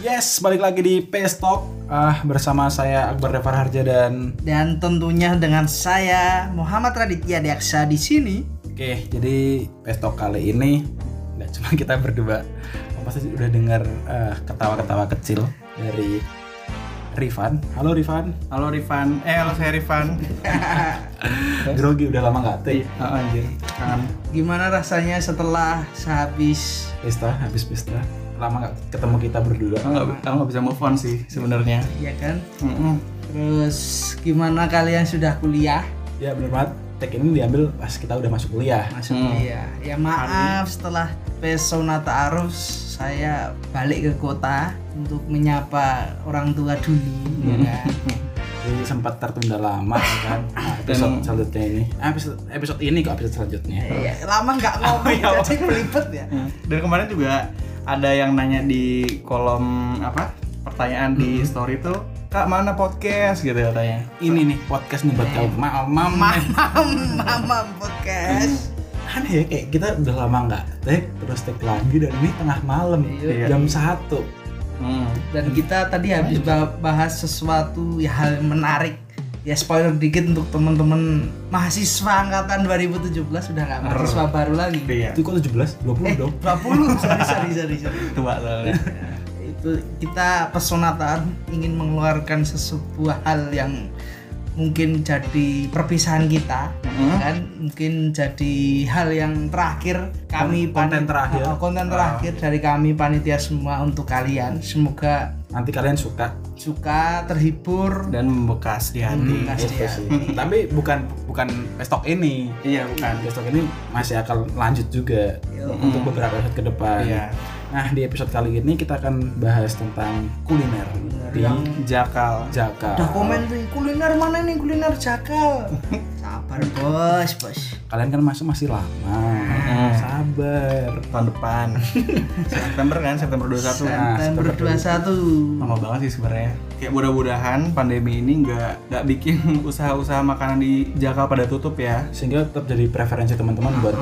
Yes, balik lagi di PS Talk ah, bersama saya Akbar Devar Harja dan Dan tentunya dengan saya Muhammad Raditya Diaksa di sini. oke, jadi PS Talk kali ini nggak cuma kita berdua. Kamu Pasti udah dengar eh, ketawa-ketawa kecil dari Rifan. Halo Rifan. Halo Rifan, eh halo saya Rifan. Grogi udah lama nggak tuh. Oh, anjir, kangen. Gimana rasanya setelah sehabis Pesta, habis pesta. Lama nggak ketemu kita berdua. Aku nggak aku nggak bisa move on sih sebenarnya. ya kan? Mm-mm. Terus gimana kalian sudah kuliah? Ya bener banget. Tag ini diambil pas kita udah masuk kuliah. Masuk Hmm. kuliah. Ya maaf setelah pesona ta'aruf saya balik ke kota untuk menyapa orang tua dulu ya kan. Jadi sempat tertunda lama kan. Nah, episode Dan- selanjutnya ini. Ah, Episode, episode ini kok episode selanjutnya. Ya, lama nggak ngomong jadi belibet ya. Dan kemarin juga ada yang nanya di kolom apa pertanyaan di story itu, kak mana podcast gitu katanya. ini nih podcast nih buat kamu mama mama Mama podcast. aneh ya kayak kita udah lama nggak tag terus tag lagi dan ini tengah malam Iya. jam satu Hmm. dan kita Nah, tadi habis ba- bahas sesuatu ya hal yang menarik ya spoiler dikit untuk teman-teman mahasiswa angkatan 2017 sudah nggak mahasiswa baru lagi Iya. itu kok 17? 20 eh dong 20 sorry sorry sorry, sorry. Tua soalnya. itu kita pesonataan ingin mengeluarkan sesebuah hal yang mungkin jadi perpisahan kita Mm-mm. kan mungkin jadi hal yang terakhir kami Konten panit- terakhir. Ah, iya. Oh, konten terakhir dari kami panitia semua untuk kalian semoga nanti kalian suka suka terhibur Dan membekas di hati. Membekas. Pasti Gitu ya. sih. tapi bukan bukan pestok ini Iya bukan. pestok ini masih akan lanjut juga Yo. untuk beberapa episode ke depan Iya. nah di episode kali ini kita akan bahas tentang kuliner di Yang Jakal. Jaka Iya. udah komen tuh kuliner mana nih kuliner jakal sabar bos bos kalian kan masuk masih lama Hmm. sabar Tahun depan. September kan September 21 kan. September 21 lama banget sih sebenarnya kayak mudah-mudahan pandemi ini nggak nggak bikin usaha-usaha makanan di Jakarta pada tutup ya sehingga tetap jadi preferensi teman-teman buat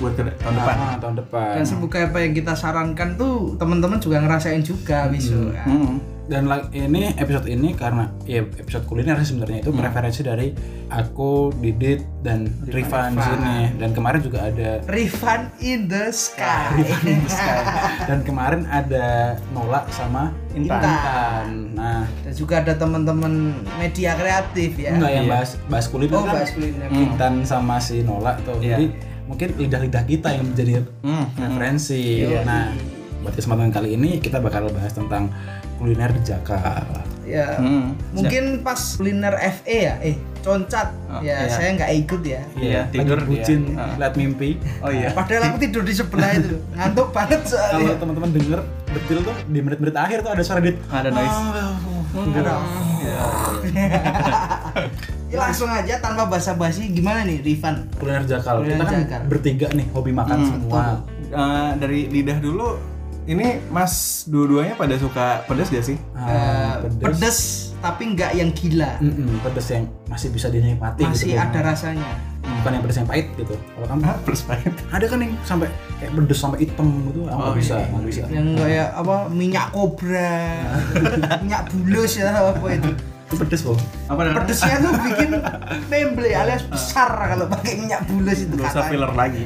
buat ke- tahun depan Ah, tahun depan dan semoga apa yang kita sarankan tuh teman-teman juga ngerasain juga besok kan. Mm. dan la- ini episode ini karena ya episode kuliner sih sebenarnya Hmm. itu preferensi dari aku, Didit dan Rifan di sini dan kemarin juga ada Rifan in the sky dan kemarin ada Nola sama Intan. Intan. Nah, dan juga ada teman-teman media kreatif ya enggak yang Iya. bahas bahas kuliner oh Nah, kan bahas kuliner Intan sama si Nola tuh. Iya. Jadi mungkin lidah-lidah kita yang menjadi Mm. referensi. Iya. Nah, buat kesempatan kali ini kita bakal bahas tentang kuliner di Jakarta. ya Mm. mungkin pas kuliner FE ya eh concat Oh, ya iya. saya nggak ikut ya Iya, lagi tidur dia. bucin, Ah. lihat mimpi. oh iya padahal aku tidur di sebelah itu ngantuk banget kalau soalnya teman-teman denger detil tuh di menit-menit akhir tuh ada suara dit Ah, ada noise Ya, langsung aja tanpa basa-basi gimana nih Rifan? kuliner jakal kita Kuliner kan Jakal. bertiga nih hobi makan Hmm, semua Eh, dari lidah dulu ini mas dua-duanya pada suka pedas gak sih Ah, Eh, pedes. tapi nggak yang gila. Mm-mm, pedes yang masih bisa dinikmati gitu, Masih ada kan. rasanya. bukan yang pedes yang pahit gitu kalau kamu Hah, pedas banget ada kan yang sampai kayak pedes sampai hitam gitu kamu nggak Oh, bisa iya, nggak bisa Yang kayak apa minyak kobra, minyak bulus ya apa itu. itu pedes loh apa namanya? Pedesnya tuh bikin memble alias besar kalau pakai minyak bulus itu Nggak usah katanya. filler lagi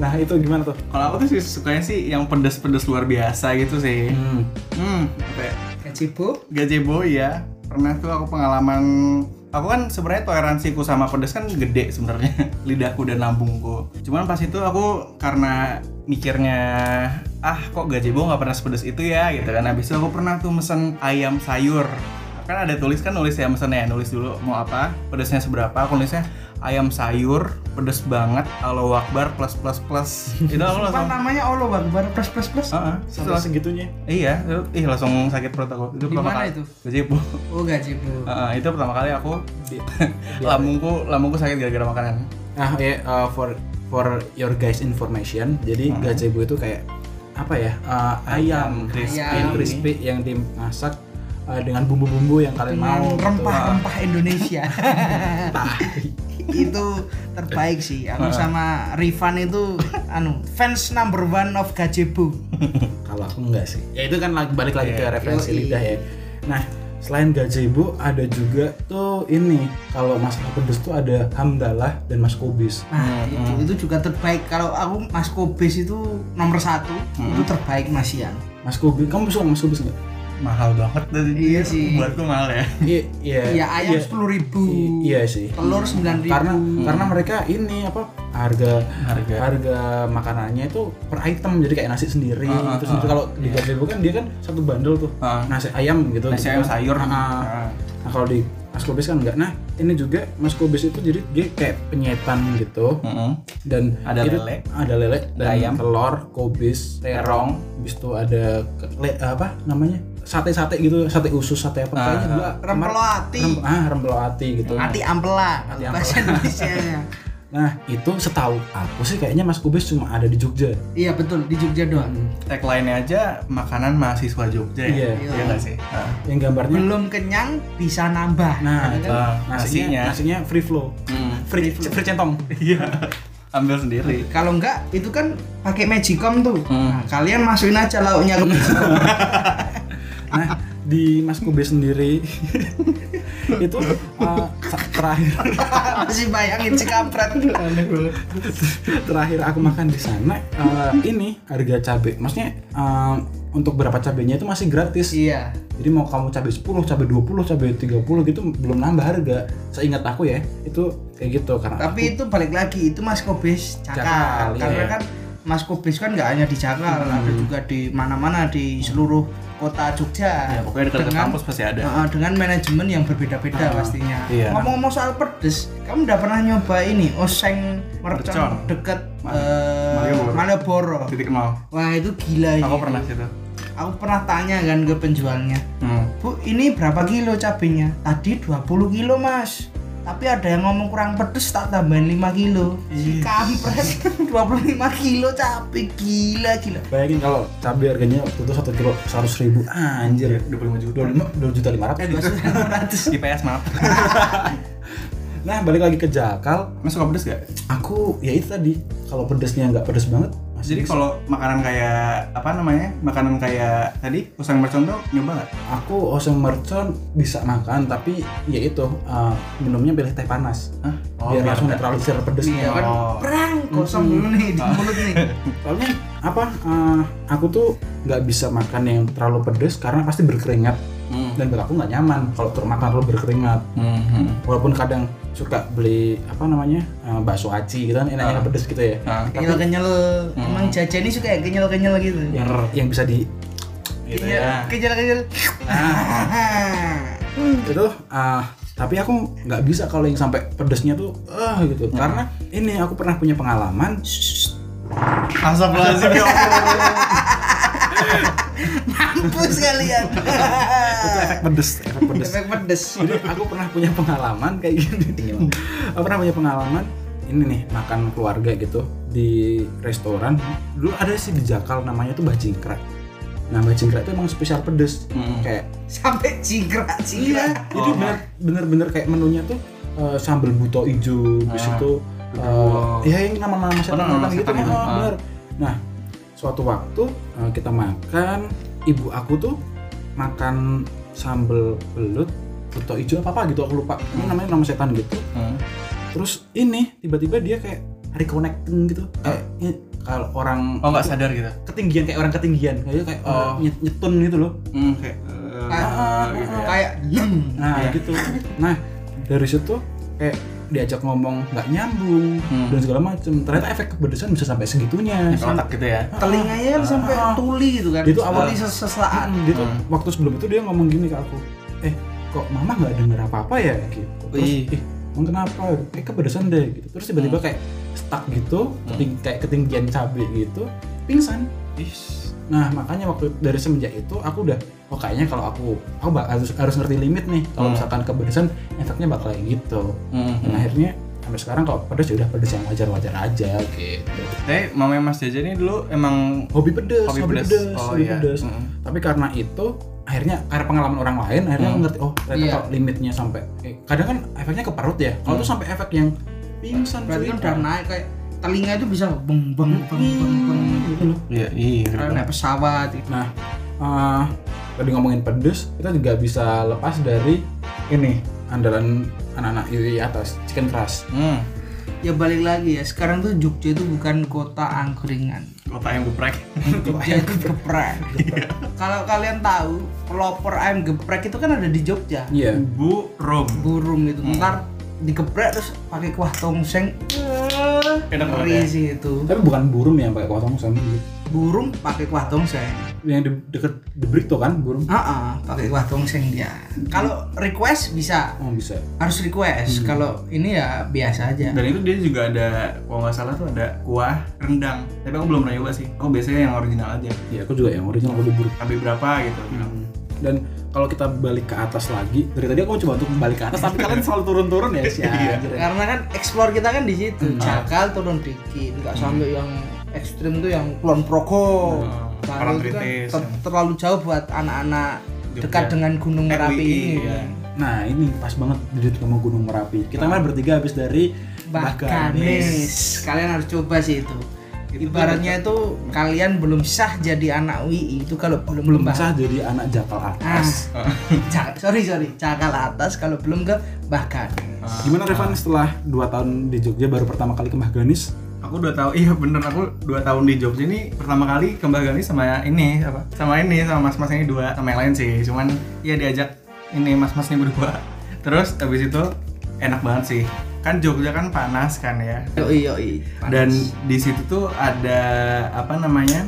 nah itu gimana tuh kalau aku tuh sih sukanya sih yang pedas-pedas luar biasa gitu sih hmm. hmm. kayak Gazebo. gazebo ya pernah tuh aku pengalaman aku kan sebenarnya toleransiku sama pedas kan gede sebenarnya lidahku dan lambungku cuman pas itu aku karena mikirnya ah kok gazebo nggak pernah sepedes itu ya gitu kan habis itu aku pernah tuh mesen ayam sayur kan ada tulis kan nulis ya mesennya nulis dulu mau apa pedesnya seberapa aku nulisnya ayam sayur pedes banget Allahu Akbar plus plus plus itu aku Apa langsung namanya Oh, Allah Akbar plus plus plus. Heeh. sampai segitunya Iya, itu- ih langsung sakit perut aku. Itu Di pertama mana kali. itu? Gazebo. Oh gazebo. Heeh, itu pertama kali aku Di- Iya. lambungku lambungku sakit gara-gara makanan. Nah, ya, uh, for for your guys information, jadi gazebo itu kayak apa ya? uh, ayam crispy. ayam crispy yang dimasak uh, dengan bumbu-bumbu yang kalian Dengan mau. rempah-rempah Indonesia. Gitu. Tah. itu terbaik sih aku sama Rifan itu anu fans number one of Gazebo Kalau aku enggak sih. Ya itu kan lagi- balik lagi Iya. ke referensi Yoi. lidah ya. Nah, selain gazebo ada juga tuh ini kalau masalah pedes tuh ada hamdalah dan mas kubis. nah itu, itu juga terbaik kalau aku Mas Kobes itu nomor satu itu terbaik Mas Ian Mas kubis, kamu suka mas kubis nggak? mahal banget dari Iya sih. buatku mahal ya I- Iya. ya ayam iya. sepuluh ribu I- Iya sih. telur sembilan ribu Karena karena mereka ini apa harga Hmm. harga harga makanannya itu per item jadi kayak nasi sendiri Ah, ah, terus ah. itu kalau di gazebo kan dia kan satu bandel tuh Ah. nasi ayam gitu nasi gitu ayam kan. sayur Ah, ah. Ah. Nah kalau di Mas Kobes kan enggak. Nah ini juga Mas Kobes itu jadi dia kayak penyetan gitu Mm-mm. dan Ada itu- lele. ada lele dan Ada ayam. telur, kobis, terong, habis itu ada ke- le- apa namanya sate-sate gitu, sate usus, sate apa Ah, kayaknya ah. dua rempeloati ah rempeloati gitu. ati ampela kalau ampela. bahasa Indonesia ya. Nah itu setahu aku sih kayaknya Mas Kobes cuma ada di Jogja. iya betul di Jogja doang tagline-nya aja makanan mahasiswa Jogja ya Iya. iya nggak sih Ah. Yang gambarnya belum kenyang bisa nambah Hmm. nah Ada itu, kan? Ah, nasinya, nasinya. nasinya free flow, Nah, free, free centong. Hmm. iya ambil sendiri kalau enggak itu kan pakai magicom tuh Nah, Hmm. kalian masukin aja lauknya ke magicom Nah, di Mas Kube sendiri itu uh, sa- terakhir masih bayangin si kampret terakhir aku makan di sana uh, ini harga cabe. Maksudnya uh, untuk berapa cabenya itu masih gratis. iya Jadi mau kamu cabe 10, cabe 20, cabe 30 gitu belum nambah harga. Seingat aku ya, itu kayak gitu karena tapi itu balik lagi itu Mas Kobes Cakal, cakal, karena iya. kan Mas Kobes kan nggak hanya di Cakal Hmm. ada juga di mana-mana di seluruh kota Jogja ya pokoknya dekat Dengan- kampus pasti ada Heeh, dengan manajemen yang berbeda-beda Ah, pastinya. iya. Ngomong-ngomong soal pedes, kamu udah pernah nyoba ini oseng Mercon. mercon deket Ma- eh, Oh. Malioboro. Malioboro? titik nol Wah itu gila Iya. ini. aku pernah situ Aku pernah tanya kan ke penjualnya, Hmm. Bu ini berapa kilo cabenya? Tadi 20 kilo mas. Tapi ada yang ngomong kurang pedes tak tambahin 5 kilo. Si kampret 25 kilo cabe gila gila. bayangin kalau cabe harganya waktu itu 1 kilo 100 ribu Ah, anjir. 25 juta 25 2 juta 500. Eh 200. IPS maaf Nah, balik lagi ke Jakal, Mas suka pedes gak? aku ya itu tadi kalau pedesnya nggak pedes banget masih Jadi bisa. kalau makanan kayak apa namanya? Makanan kayak tadi usang mercon tuh nyoba gak? aku oseng mercon bisa makan tapi ya itu uh, minumnya pilih teh panas Hah? Oh, biar langsung nggak- netralisir Iya pedesnya kan Oh. perang kosong dulu nih di mulut nih. soalnya apa uh, aku tuh nggak bisa makan yang terlalu pedes karena pasti berkeringat Hmm. dan buat aku nggak nyaman kalau ter- makan terlalu berkeringat Hmm, hmm. walaupun kadang suka beli apa namanya uh, bakso aci gitu kan enaknya Ah. pedes gitu ya Ah. Kenyal-kenyal. Emang jajan ini suka ya kenyal-kenyal gitu. yang yang bisa di Gitu Iya, ya. Kenyal-kenyal. itu ah tapi aku nggak bisa kalau yang sampai pedesnya tuh eh gitu Hmm. karena ini aku pernah punya pengalaman Asap lazim ya Allah. Mampus kalian. efek pedes efek pedes Efek pedes. jadi aku pernah punya pengalaman kayak gini aku pernah punya pengalaman ini nih makan keluarga gitu di restoran dulu ada sih di Jakal namanya tuh bajingkrak nah bajingkrak itu emang spesial pedes Hmm. kayak Sampai cingkrak-cingkrak. jadi Oh. Iya, bener bener bener kayak menunya tuh eh, sambal buto ijo di Ah. situ eh, Wow. ya yang nama-nama setan nama-nama gitu setan itu. oh, Ah. bener. nah suatu waktu eh, kita makan ibu aku tuh makan sambal belut buto ijo apa apa gitu aku lupa ini namanya nama setan gitu Hmm. terus ini tiba-tiba dia kayak reconnecting gitu kayak nye- kalau orang Ah. Oh nggak sadar gitu? ketinggian kayak orang ketinggian kayak kayak Oh. nyet- nyetun gitu loh Hmm, kayak eh, Ah, ah, gitu ya. Kayak leng. nah Iya. gitu nah dari situ kayak diajak ngomong nggak nyambung Hmm. dan segala macem ternyata efek kepedesan bisa sampai segitunya Kayak otak gitu ya. telinganya kan sampai tuli gitu kan Itu awal- awalnya sesaat Mm, dia tuh Hmm. waktu sebelum itu dia ngomong gini ke aku eh kok mama nggak denger apa apa ya gitu terus Wih. Hmm. ih emang kenapa kayak kepedesan deh gitu terus tiba-tiba kayak stuck gitu keting- kayak ketinggian cabai gitu pingsan Ih. Nah makanya waktu dari semenjak itu aku udah oh kayaknya kalau aku aku bak- harus harus ngerti limit nih kalau Hmm. misalkan kepedesan efeknya bakal kayak gitu. Hmm, Dan hmm. akhirnya sampai sekarang kalau pedes ya udah pedes yang wajar-wajar aja gitu. Tapi mamanya Mas Jaja ini dulu emang Hobi pedes, Hobi hobi, pedes. pedes, Oh, hobi iya. pedes. Hmm. Tapi karena itu akhirnya karena pengalaman orang lain akhirnya Hmm. aku ngerti oh ternyata Iya. kalau limitnya sampai eh, kadang kan efeknya ke perut ya. Kalau tuh sampai efek yang pingsan berarti cuy. Hmm. kan udah naik kayak telinga itu bisa beng beng beng beng beng Gitu loh. Iya, iya. Karena Karena naik pesawat gitu. Nah, eh, tadi ngomongin pedes, kita juga bisa lepas dari ini andalan anak-anak UI atas chicken crust. hmm, ya balik lagi ya sekarang tuh Jogja itu bukan kota angkringan otak yang geprek. Jogja itu geprek kalau kalian tahu pelopor ayam geprek itu kan ada di Jogja Iya. Bu Rom. burung gitu ntar digeprek terus pakai kuah tongseng Enak banget ngeri ya. sih itu Tapi bukan burung yang pakai kuah tongseng gitu. burung pakai kuah tongseng Yang de deket The Brito kan burung. ah ah, pakai kuah tongseng dia kalau request bisa Oh bisa. harus request kalau ini ya biasa aja Dan itu dia juga ada, kalau nggak salah tuh ada kuah rendang. Tapi aku belum pernah coba sih. Aku biasanya yang original aja. Iya, aku juga yang original aku di burung. Tapi berapa gitu? Dan kalau kita balik ke atas lagi, dari tadi aku coba untuk balik ke atas, tapi kalian selalu turun-turun ya sih. Iya. karena kan explore kita kan di situ cakal turun dikit nggak sampai yang ekstrim tuh yang kulon proko Hmm. Kalau Orang itu kan kritis. ter- terlalu jauh buat anak-anak Jogja. dekat dengan gunung Eh, merapi UI, ini iya. Nah ini pas banget duduk sama Gunung Merapi. Kita kemarin bertiga habis dari bahkan Bakanis. kalian harus coba sih itu ibaratnya itu kalian belum sah jadi anak UI itu kalau belum Belum ke Bah- sah jadi anak jakal ah, atas. ca- sorry sorry cakal atas kalau belum ke bahkan Gimana Revan setelah 2 tahun di Jogja baru pertama kali ke Mbah Ganis? Aku dua tahun, iya bener aku dua tahun di Jogja ini pertama kali ke Mbak Gani sama ini apa? Sama ini sama mas-mas ini dua sama yang lain sih. Cuman ya diajak ini mas-mas ini berdua. Terus habis itu enak banget sih. Kan Jogja kan panas kan ya. yoi yoi Panas. Dan di situ tuh ada apa namanya?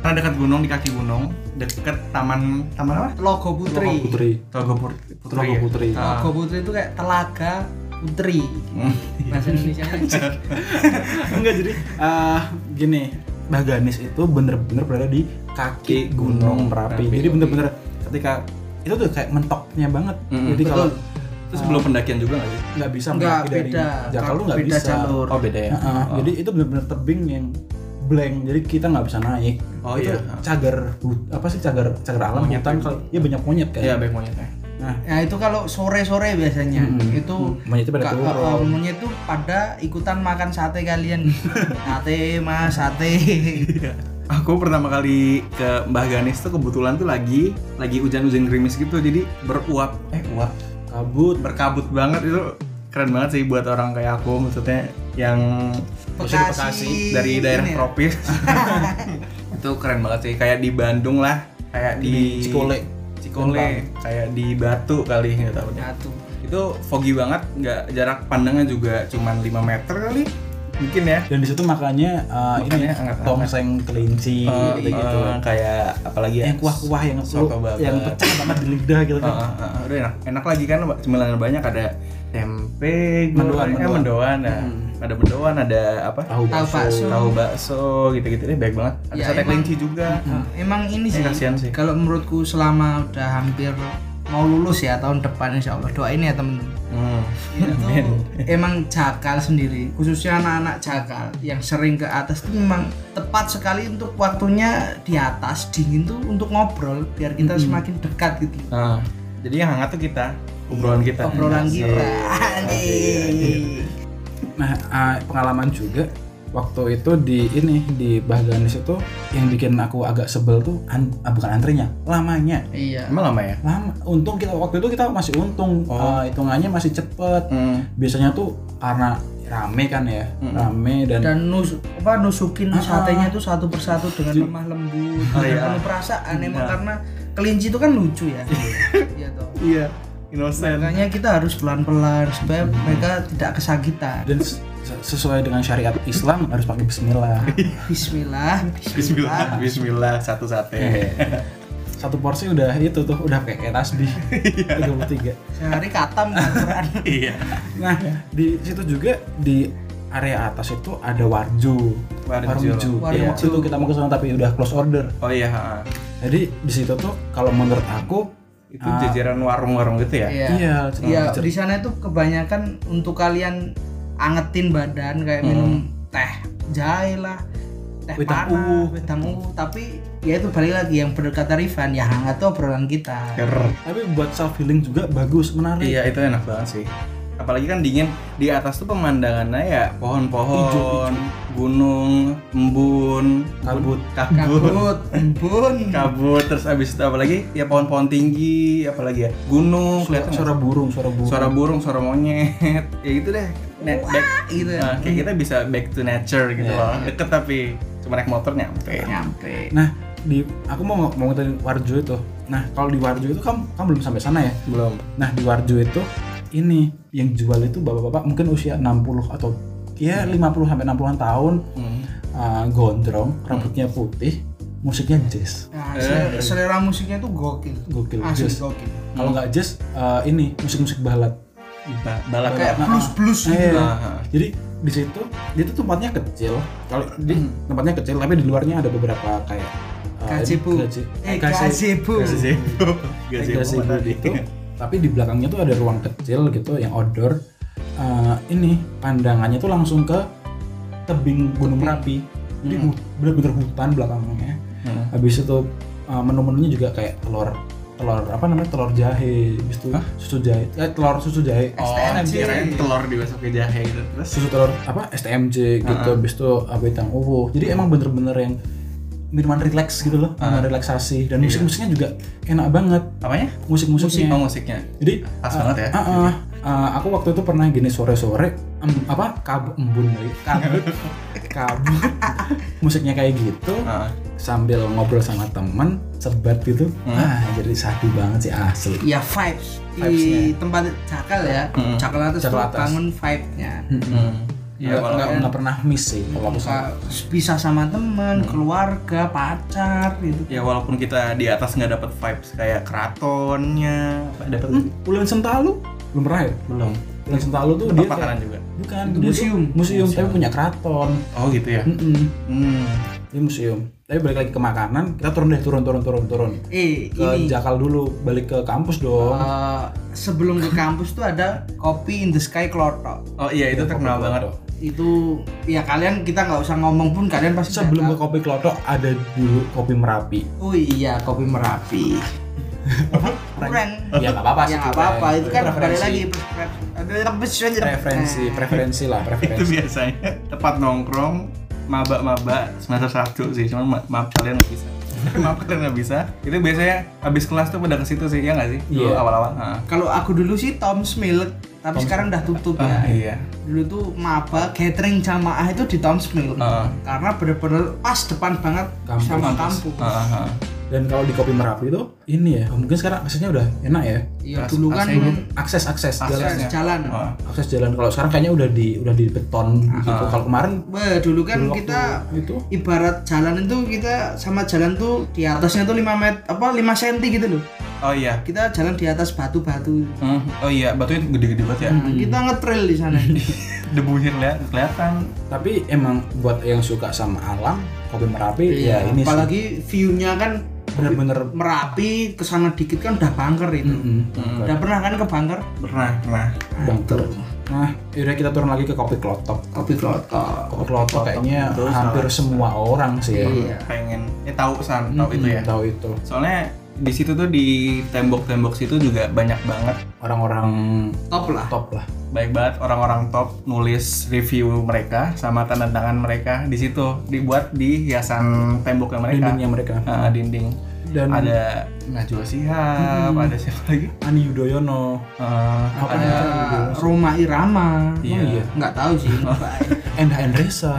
Karena dekat gunung di kaki gunung, dekat taman taman apa? logo Logo Putri. Togo Putri. iya. Logo Putri. Logo putri itu kayak telaga putri bahasa Indonesia Enggak jadi eh, gini, Mbah Ganis itu bener-bener berada di kaki Gunung Merapi. Merapi. Jadi bener-bener ketika itu tuh kayak mentoknya banget. Mm-mm. Jadi kalau Terus sebelum pendakian juga nggak sih? nggak bisa Nggak, mendaki dari beda. Jakal lu nggak Beda bisa. jalur. Oh beda ya. Heeh, Jadi itu bener-bener tebing yang blank. Jadi kita nggak bisa naik. Oh, itu iya. cagar hut- apa sih cagar cagar alam Monyet. hutan kalau ya banyak monyet kayak. Iya, baik monyetnya. Nah, ya itu kalau sore-sore biasanya Mm-mm. itu monyetnya pada Ka- turun. eh, umumnya itu pada ikutan makan sate kalian sate mas sate Aku pertama kali ke Mbah Ganis tuh kebetulan tuh lagi lagi hujan-hujan gerimis gitu, jadi beruap eh uap kabut berkabut banget itu keren banget sih buat orang kayak aku maksudnya yang Bekasi. dari daerah Ini ya? tropis itu keren banget sih kayak di Bandung lah kayak di, Di Cikole. Cikole kayak di Batu kali nggak tahu deh satu itu foggy banget nggak jarak pandangnya juga cuman 5 meter kali mungkin ya dan di situ makanya uh, ini Makannya anget-anget. tongseng kelinci Eh, gitu, gitu. eh, kayak apalagi ya yang kuah-kuah yang lu, soto babat. yang pecah banget di lidah gitu Ah, kan. ah, ah, udah enak enak lagi kan Mbak. cemilan banyak ada tempe Mendoan, goreng, eh, mendoan. mendoan nah. ada mendoan ada apa Tahu Tahu bakso. tahu bakso gitu-gitu ini baik banget ada Ya, emang. sate Hmm. kelinci juga emang ini Ini sih kasihan sih. kalau menurutku selama udah hampir mau lulus ya tahun depan insya Allah doain ya temen-temen hmm. itu Iya, emang jakal sendiri khususnya anak-anak jakal yang sering ke atas tuh memang tepat sekali untuk waktunya di atas dingin tuh untuk ngobrol biar kita semakin dekat gitu Nah, jadi yang hangat tuh kita obrolan kita Iya. obrolan Asik. kita Nah, uh, pengalaman juga waktu itu di ini di Bahganis itu yang bikin aku agak sebel tuh an- ah, bukan antrinya, lamanya. iya emang lama ya Lama. Untung kita waktu itu kita masih untung, Oh. Uh, hitungannya masih cepet. hmm. Biasanya tuh karena rame kan ya, Mm-mm. rame dan dan nus apa nusukin Ah. satenya tuh satu persatu dengan lemah lembut Ah, dengan iya. penuh perasaan emang Iya. karena kelinci itu kan lucu ya iya toh iya innocent makanya kita harus pelan-pelan supaya mereka tidak kesakitan dan se- sesuai dengan syariat Islam harus pakai Bismillah. Bismillah Bismillah Bismillah satu Iya. sate Satu porsi udah itu tuh udah kayak, kayak tasbih 33. sehari katam kan Quran iya Nah, di situ juga di area atas itu ada warjo. Warjo. Warjo. Warjo. Iya, waktu itu kita mau ke sana tapi udah close order. oh iya ha, ha. Jadi di situ tuh kalau menurut aku itu jajaran warung-warung gitu ya iya iya, Iya, cer- di sana itu kebanyakan untuk kalian angetin badan kayak minum teh jahe lah, teh Wedang panah, uwuh. wedang uwuh. Tapi ya itu balik lagi yang bener kata Rifan, ya hangat tuh obrolan kita. Ker. tapi buat self healing juga bagus, menarik. iya itu Iya, enak banget sih apalagi kan dingin di atas tuh pemandangannya ya Ijo, pohon-pohon gunung embun Kabut. kabut kabut embun kabut terus abis itu apalagi ya pohon-pohon tinggi apalagi ya gunung suara, kelihatan nggak? suara burung suara burung suara burung suara monyet ya gitu deh Net, back gitu ya. Nah, kayak kita bisa back to nature gitu Iya. loh deket tapi cuma naik motor nyampe nyampe nah di aku mau mau ngeliatin Warjo itu nah kalau di Warjo itu kamu kamu belum sampai sana ya belum nah di Warjo itu ini yang jual itu bapak-bapak mungkin usia 60 atau ya 50 sampai 60-an tahun Hmm. uh, gondrong rambutnya putih musiknya jazz Nah, Eh. se- selera musiknya tuh gokil gokil Nah, asli jazz gokil kalau nggak jazz uh, ini musik-musik balad Ba- balap kayak ya? Nah, blues blues iya. gitu Ah, ah. jadi di situ dia tuh tempatnya kecil kalau di tempatnya kecil tapi di luarnya ada beberapa kayak uh, Gazebo. gaze- eh gaze- gazebo gazebo Gazebo gazebo mana tadi. itu. gitu. tapi di belakangnya tuh ada ruang kecil gitu yang outdoor Eh, ini pandangannya tuh langsung ke tebing gunung merapi jadi Hmm. hu- bener-bener hutan belakangnya Hmm. habis itu eh, menu-menunya juga kayak telur telur apa namanya telur jahe habis itu susu jahe eh, telur susu jahe Oh, STNJ. kirain telur dimasuk ke jahe gitu terus. susu telur apa STMJ gitu Uh-uh. habis itu apa hitam uwu jadi emang bener-bener yang minuman relax gitu loh Uh-huh. minuman relaksasi Iya. dan musik-musiknya juga enak banget Apanya? musik-musiknya Oh, musiknya. jadi Pas uh, banget ya. uh, uh, uh, aku waktu itu pernah gini sore-sore em, apa kabut embun lagi kabut kabut musiknya kayak gitu Ah, sambil ngobrol sama teman sebat gitu Hmm. ah jadi sadu banget sih asli ya vibes di Vibes-nya. tempat cakal ya Mm. cakal atas tuh Cakal atas. bangun vibe-nya hmm. Ya, Nggak- kalau nggak nggak pernah miss sih kalau aku sama- Iya, kan Suka bisa sama temen, keluarga, pacar gitu ya walaupun kita di atas nggak dapat vibes kayak keratonnya, apa dapat hmm, Ulan Sentalu belum pernah ya belum. Ulan Sentalu tuh Tempat dia makanan kayak, juga. bukan Itu dia tuh museum. museum tapi punya keraton Oh, gitu ya. Mm-mm, Hmm. Dia museum tapi balik lagi ke makanan kita turun deh turun turun turun turun Eh ke ini Jakal dulu balik ke kampus dong eh, sebelum ke kampus tuh ada Kopi in the Sky Klotok Oh iya, itu terkenal Kopi banget. Klotok. itu ya kalian kita nggak usah ngomong pun kalian pasti udah Sebelum ke tahu. kopi klotok ada dulu kopi merapi. Oh iya kopi merapi kurang Ya nggak apa-apa sih. ya nggak apa-apa itu kan kembali preferensi. lagi pre- ada referensi Preferensi, preferensi lah, Itu preferensi. biasanya tempat nongkrong maba-maba semester satu sih, cuman ma- maaf kalian nggak bisa. maaf kalian nggak bisa. Itu biasanya habis kelas tuh pada ke situ sih, ya nggak sih? Iya. Dulu awal-awal. Ah. kalau aku dulu sih Tom's Milk tapi sekarang udah tutup ya Ah, iya. dulu tuh maba catering jamaah itu di Tom's Mill Ah. karena bener-bener pas depan banget Kampus. sama kampus Ah, ah, ah. Dan kalau di kopi merapi itu ini ya, mungkin sekarang aksesnya udah enak ya. iya Pas- dulu kan pas ini. Akses akses jalan. Aksesnya. jalan Ah. Akses jalan kalau sekarang kayaknya udah di udah di beton gitu. Kalau kemarin gitu. Wah, dulu kan dulu waktu kita itu ibarat jalan itu kita sama jalan tuh di atasnya tuh 5 meter apa 5 cm gitu loh Oh iya. kita jalan di atas batu-batu Hmm, Oh iya, batunya gede-gede banget ya. Hmm. kita ngetrail di sana Debunya keliat- kelihatan. tapi emang buat yang suka sama alam, kopi merapi Iya. ya ini sih apalagi view-nya kan bener-bener merapi kesana dikit kan udah bangker itu mm, udah pernah kan ke bangker Pernah, pernah. bangker. Nah, yaudah kita turun lagi ke kopi klotok. kopi klotok Kopi klotok kayaknya itu hampir semua orang sih ya. iya Pengen, eh tahu san, tahu itu ya. tahu itu Soalnya di situ tuh di tembok-tembok situ juga banyak banget, orang-orang top lah top lah baik banget orang-orang top nulis review mereka sama tanda tangan mereka di situ dibuat di hiasan temboknya mereka. dindingnya mereka Ah, dinding. dan ada Ada Najwa Shihab, ada siapa lagi? Ani Yudhoyono Ah, Apa ada rumah irama Iya. iya. nggak tahu sih Mbak. Enda Endresa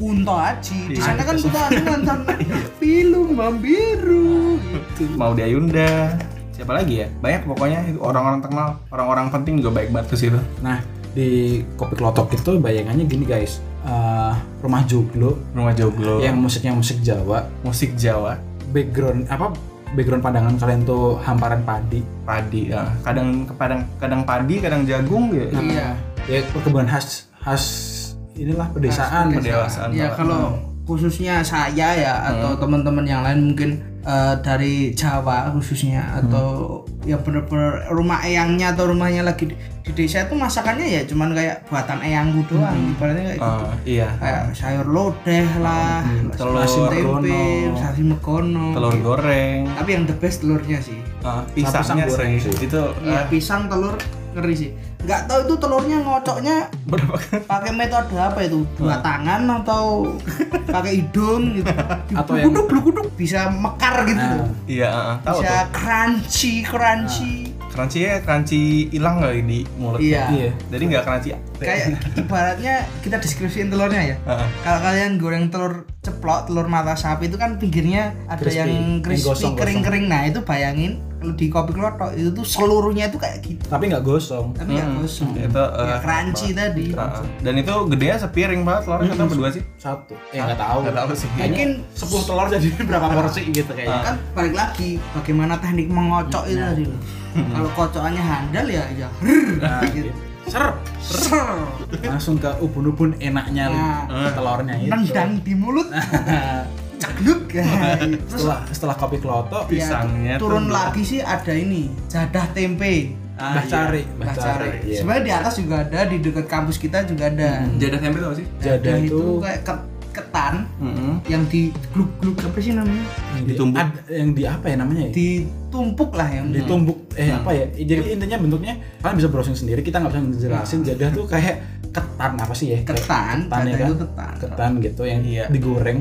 Kunto Aji di sana Iya. kan kita nonton film Mambiru gitu Maude Ayunda. Siapa lagi ya? Banyak pokoknya itu orang-orang terkenal, orang-orang penting juga baik banget ke situ. nah di kopi klotok itu bayangannya gini guys Eh, rumah joglo Rumah Joglo. yang musiknya musik Jawa Iya. musik Jawa background apa background pandangan kalian tuh hamparan padi padi ya. kadang kadang kadang padi kadang jagung gitu ya iya ya perkebunan khas khas inilah pedesaan pendewasaan ya banget. kalau khususnya saya ya atau teman-teman yang lain mungkin eh, dari Jawa khususnya atau Hmm. yang bener-bener rumah eyangnya atau rumahnya lagi di, di desa itu masakannya ya cuman kayak buatan eyangku doang ibaratnya kayak gitu. Hmm. Ah, iya kayak sayur lodeh lah telur asin tempe megono. nasi megono telur goreng tapi yang the best telurnya sih ah, pisangnya Sapi sang goreng sih. sih. itu Iya, ah, pisang telur ngeri sih nggak tahu itu telurnya ngocoknya berapa kali? pakai metode apa itu dua tangan atau pakai hidung gitu Atau yang- Bluguduk, bluguduk. bisa mekar gitu Nah, Iya, uh, tahu bisa tuh. crunchy crunchy Crunchy ya crunchy hilang kali di mulut. Eh, iya iya. Jadi nggak crunchy. Eh, kayak ibaratnya kita deskripsiin telurnya ya Heeh. kalau kalian goreng telur ceplok telur mata sapi itu kan pinggirnya ada Crispy. yang Yang crispy gosong-gosong. kering-kering nah itu bayangin kalau di kopi klotok itu tuh seluruhnya itu kayak gitu Tapi nggak gosong. tapi nggak Hmm, gosong itu, eh, ya, crunchy tadi Ah. Heeh. eh. Dan itu gedenya sepiring banget telurnya kita berdua sih. Satu. Ya nggak tahu. Nggak tahu sih. Ah. Mungkin Mungkin- sepuluh telur jadi berapa porsi gitu kayaknya. kan balik lagi bagaimana teknik mengocok itu tadi loh Hmm. kalau kocokannya handal ya ya Nah, gitu. Ser. ser Langsung ke ubun-ubun enaknya Nah. telurnya Nah, itu. nendang di mulut cegluk terus setelah setelah kopi klotok ya, pisangnya turun tuh- lagi sih ada ini jadah tempe Mbah iya. cari, Ah, Mbah Cari. Iya. Hmm. Sebenarnya di atas juga ada, di dekat kampus kita juga ada. Jadah tempe tau sih? Jadah Dan itu kayak ke- ketan Heeh. yang di gluk gluk apa sih namanya? yang di- Ditumbuk. ad- yang di apa ya namanya ya? Hmm. Ditumpuk lah yang ditumbuk eh Hmm. apa ya jadi intinya bentuknya kalian bisa browsing sendiri kita nggak bisa ngejelasin jadah tuh kayak ketan apa sih ya Kayak Hmm. ketan, ketan ya jadah kan? itu ketan. ketan gitu yang Iya. digoreng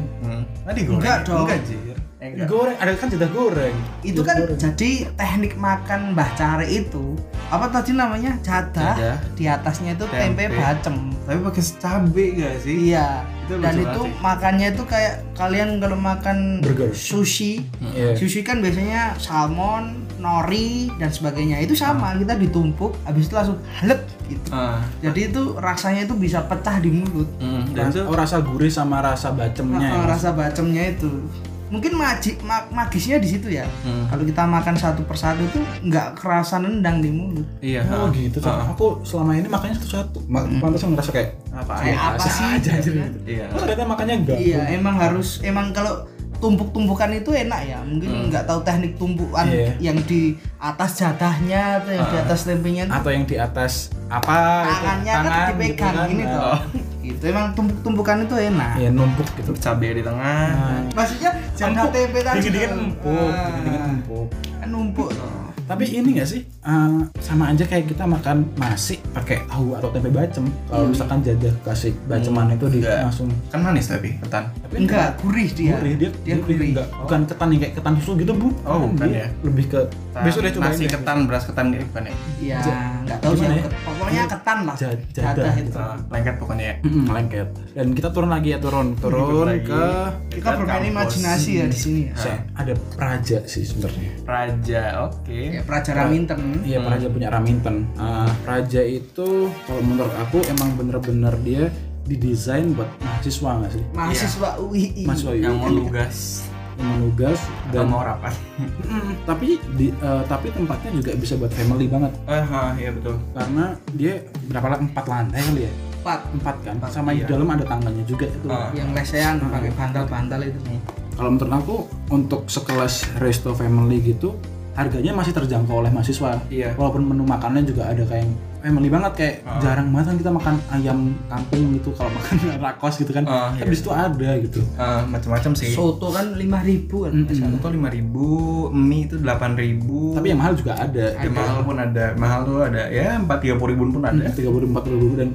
Nah, digoreng. Enggak dong. Enggak, jir. Eh, enggak. digoreng ada kan jadah goreng Itu Iya, Jadah kan goreng. jadi teknik makan Mbah Cari itu apa tadi namanya jadah, Jadah. di atasnya itu tempe, Tempe. bacem. Tapi pakai cabe gak sih? Iya. Itu Dan lucu itu banget sih. makannya itu kayak kalian kalau makan Burger. sushi, Iya. Sushi kan biasanya salmon, nori dan sebagainya. Itu sama, kita ditumpuk habis itu langsung halep gitu. Ah. Jadi itu rasanya itu bisa pecah di mulut. Mm, Ras- Dan itu oh, rasa gurih sama rasa bacemnya ya, Nah, Mas? rasa bacemnya itu. Mungkin magi, ma- magisnya di situ ya. Hmm. Kalau kita makan satu persatu itu nggak kerasa nendang di mulut. iya. oh ah. gitu Cak. Ah. aku selama ini makannya satu satu pantas ngerasa kayak Apa Kayak ya? apa biasa sih? aja, anjir. Iya. Iya. oh ternyata makannya enggak Iya, emang harus emang kalau tumpuk-tumpukan itu enak ya. Mungkin nggak tahu teknik tumpukan Hmm. Iya. Ah. yang di atas jatahnya atau yang di atas tempenya itu atau yang di atas apa gitu. tangannya Tangan kan dipegang gitu kan. gini Nah, toh gitu emang tumpuk-tumpukan itu enak ya numpuk gitu Cabe di tengah. maksudnya jangan Nah. tempe tadi dingin-dingin tuh. empuk Ah, dingin-dingin empuk kan numpuk toh Tapi ini gak sih eh, sama aja kayak kita makan nasi pakai tahu atau tempe bacem. Iya. Kalau misalkan jadah kasih baceman Hmm. itu di Enggak. langsung Kan manis tapi ketan. tapi enggak gurih dia Iya. gurih dia, dia gurih, gurih enggak bukan ketan yang kayak ketan susu gitu bu Oh, bukan ya. lebih ke besok deh cobain Nasi deh. ketan, beras ketan kayak bukan ya? iya Ja- enggak tahu sih gimana ya? ket- pokoknya ketan lah gitu. Ja- jadah. gitu. jadah itu Ah, Lengket pokoknya ya. Mm-mm, lengket dan kita turun lagi ya turun turun Lagi. Iya, ke kita bermain kampus. imajinasi ya di sini ya Saya- ada praja sih sebenarnya Raja, oke. Ya, Praja Raminten Hmm. Iya, Praja punya Raminten. Ah, Praja itu kalau menurut aku emang bener-bener dia didesain buat mahasiswa nggak sih? mahasiswa UII Mahasiswa UI Iya. Yang mau kan lugas yang mau nugas atau dan mau rapat. Mm, tapi di, eh, tapi tempatnya juga bisa buat family banget Ah, ah, iya betul. karena dia berapa lah empat lantai kali ya empat empat kan Empat, sama di iya. dalam ada tangganya juga itu Ah. yang lesehan pakai bantal-bantal itu Iya. kalau menurut aku untuk sekelas resto family gitu harganya masih terjangkau oleh mahasiswa Iya. walaupun menu makannya juga ada kayak yang family banget kayak Ah. jarang banget kan kita makan ayam kampung gitu kalau makan rakos gitu kan Ah, iya. tapi di situ ada gitu Ah, macam-macam sih. soto kan lima ribu kan Mm-mm. Satu lima ribu, mie itu delapan ribu. tapi yang mahal juga ada Ya, mahal pun ada, mahal tuh ada. Ya empat tiga puluh ribu pun ada. tiga puluh empat dan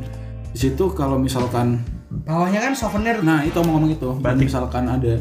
di situ kalau misalkan bawahnya kan souvenir Nah itu mau ngomong itu, Dan Batik. misalkan ada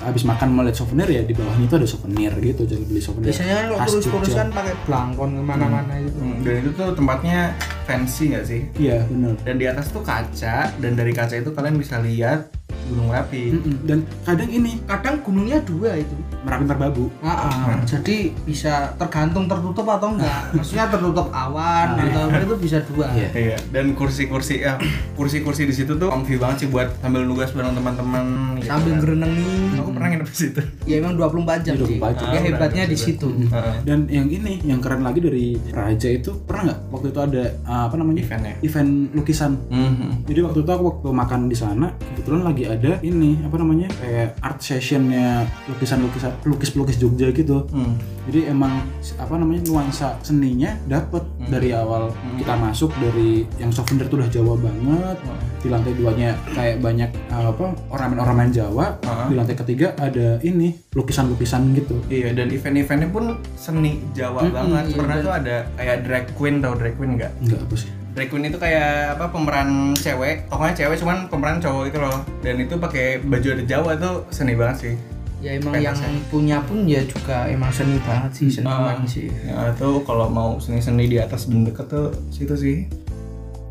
habis makan melihat souvenir ya di bawahnya itu ada souvenir gitu jadi beli souvenir. biasanya kan kalau khas kurus-kurus Jogja. Mm. kan pakai belangkon kemana-mana gitu Hmm, Dan itu tuh tempatnya fancy nggak sih? Iya benar. Dan di atas tuh kaca, dan dari kaca itu kalian bisa lihat Gunung Merapi. Mm-mm. Dan kadang ini kadang gunungnya dua itu Ah, merapi terbabu. Mm. jadi bisa tergantung tertutup atau enggak maksudnya tertutup awan atau apa itu bisa dua Ah, Iya. Iya. Dan kursi-kursi, ya kursi-kursi di situ tuh comfy banget sih buat sambil nugas bareng teman-teman. gitu sambil kan. ngerenengi Aku pernah nginep di situ. ya emang 24 jam Iya, sih 24 jam. Mm. ya hebatnya di situ Heeh. Dan yang ini yang keren lagi dari Raja itu pernah nggak waktu itu ada uh, apa namanya Eventnya. event lukisan. Mhm. Jadi waktu itu aku waktu makan di sana kebetulan lagi ada ada ini apa namanya kayak art sessionnya lukisan lukisan lukis pelukis Jogja gitu Hmm. jadi emang s- apa namanya nuansa seninya dapet Hmm. dari awal kita masuk dari yang souvenir tuh udah Jawa banget Hmm. di lantai duanya kayak banyak uh, apa ornamen-ornamen Jawa Ah. di lantai ketiga ada ini lukisan-lukisan gitu Iya dan event-eventnya pun seni Jawa Mm-mm, banget. iya, Pernah dan- tuh ada kayak drag queen tau drag queen nggak? enggak apa sih Drag queen itu kayak apa pemeran cewek, tokohnya cewek cuman pemeran cowok itu loh. Dan itu pakai baju ada Jawa tuh seni banget sih. ya emang Pentas kan? yang punya pun ya juga emang seni banget sih seniman Ah. sih Ya, itu kalau mau seni-seni di atas dan deket tuh situ sih.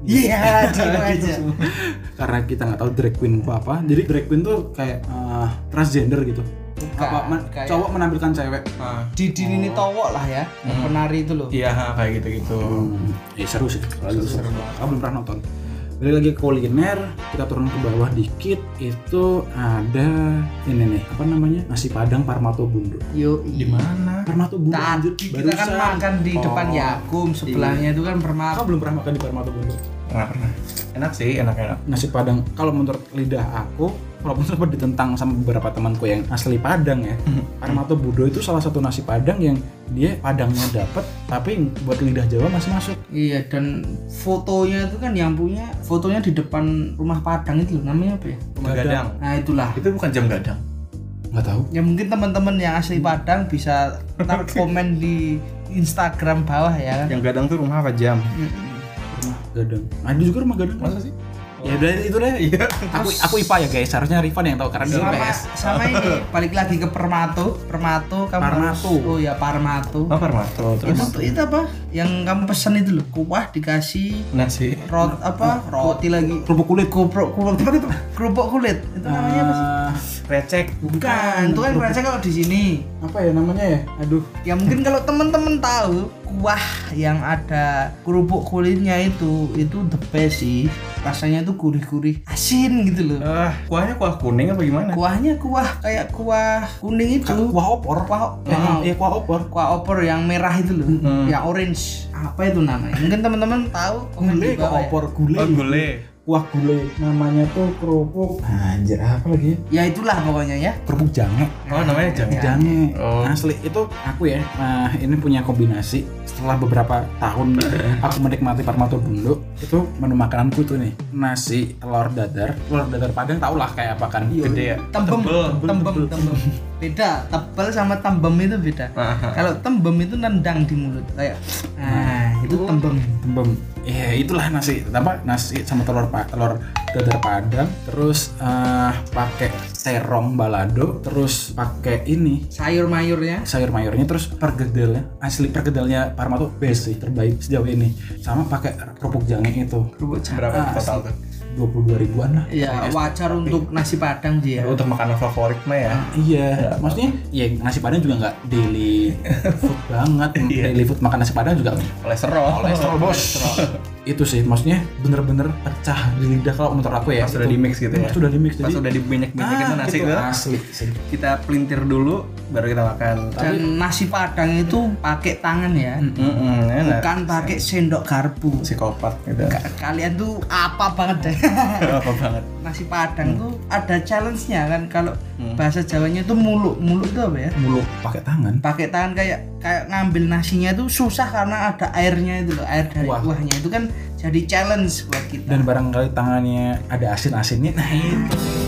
iya gitu aja karena kita nggak tahu drag queen apa apa jadi drag queen tuh kayak uh, transgender gitu Bukan, apa men- kayak- cowok menampilkan cewek Ah, Didin ini towok lah ya yang penari itu loh iya ha, kayak gitu-gitu. Hmm, ya seru sih. Seru, seru, Aku belum pernah nonton. Balik lagi ke kuliner, kita turun ke bawah dikit itu ada ini nih apa namanya nasi padang Parmato Bundo. yo Di mana? Parmato Bundo. tadi anjir, kita kan barusan. makan di Oh. Iya. depan ya. Yakum sebelahnya itu kan permata Kau belum pernah makan di Parmato Bundo. Pernah pernah. Enak sih, enak-enak. Nasi padang kalau menurut lidah aku, walaupun sempat ditentang sama beberapa temanku yang asli Padang ya, Hmm. Parmato Bundo itu salah satu nasi padang yang dia padangnya dapat, tapi buat lidah Jawa masih masuk. iya dan fotonya itu kan yang punya fotonya di depan rumah Padang itu loh namanya apa ya Rumah Gadang. gadang. nah itulah Itu bukan jam gadang. Nggak tahu. ya mungkin teman-teman yang asli Hmm. Padang bisa ntar komen di Instagram bawah ya Yang gadang tuh rumah apa jam? Mm-mm. Rumah Gadang. Ada juga rumah Gadang. Hmm, Masa sih? Ya udah itu deh. Iya. aku aku IPA ya guys harusnya Rifan yang tahu karena dia sama IPS sama ini balik lagi ke Permato Permato kamu Parmato. harus- oh ya Parmato Apa Marto? Terus itu itu apa yang kamu pesan itu loh kuah dikasih nasi. rot apa roti lagi kerupuk kulit kerupuk kerupuk kerupuk kulit itu Iya, namanya Ah, apa sih Eh, Recek. bukan itu kan kerasa kalau di sini apa ya namanya ya aduh ya mungkin kalau temen-temen tahu kuah yang ada kerupuk kulitnya itu itu the best sih rasanya tuh gurih-gurih asin gitu loh Ah, kuahnya kuah kuning apa gimana? kuahnya kuah kayak kuah kuning itu kuah opor kuah Eh, ah, iya kuah opor kuah opor yang merah itu loh Hmm. yang orange apa itu namanya mungkin teman-teman tahu komen gulai di kuah bawah ya. opor gulai Oh, gulai. kuah gulai namanya tuh kerupuk anjir apa lagi ya? ya itulah pokoknya ya kerupuk jange Oh, namanya jam. jange Oh. asli itu aku ya nah, ini punya kombinasi setelah beberapa tahun aku menikmati Parmato Bundo itu menu makananku tuh nih nasi telur dadar telur dadar padang tau lah kayak apa kan Gede ya. tembem Tebel. tembem tembem beda tebel sama tembem itu beda Ah, kalau tembem itu nendang di mulut kayak nah itu tembem Bem. Ya itulah nasi, apa nasi sama telur pa- telur dadar padang, terus eh, pakai terong balado, terus pakai ini sayur mayurnya sayur mayurnya terus pergedelnya asli pergedelnya Parma tuh best sih terbaik sejauh ini sama pakai kerupuk jange itu kerupuk jahe Berapa total tuh? 22 ribuan lah ya wajar untuk nasi padang sih ya Untuk makanan favorit mah ya. iya maksudnya ya nasi padang juga nggak daily food banget daily food makan nasi padang juga Kolesterol. Iya. Kolesterol, Bos. itu sih maksudnya bener-bener pecah di lidah kalau menurut aku ya Pas udah Itu- di-mix gitu ya? pas udah di mix Pas udah dibanyak-banyakin tuh nasi gitu. itu, asli sih. kita pelintir dulu baru kita makan. dan nasi padang itu pakai tangan ya Mm-mm, enak. bukan pakai sendok garpu Psikopat gitu. kalian tuh apa banget deh Apa banget. nasi padang tuh ada challenge-nya kan kalau bahasa Jawanya tuh muluk muluk itu apa ya Mulu pakai tangan. pakai tangan kayak kayak ngambil nasinya tuh susah karena ada airnya itu loh air dari Wah. kuahnya itu kan jadi challenge buat kita Dan barangkali tangannya ada asin-asinnya. Nah, itu.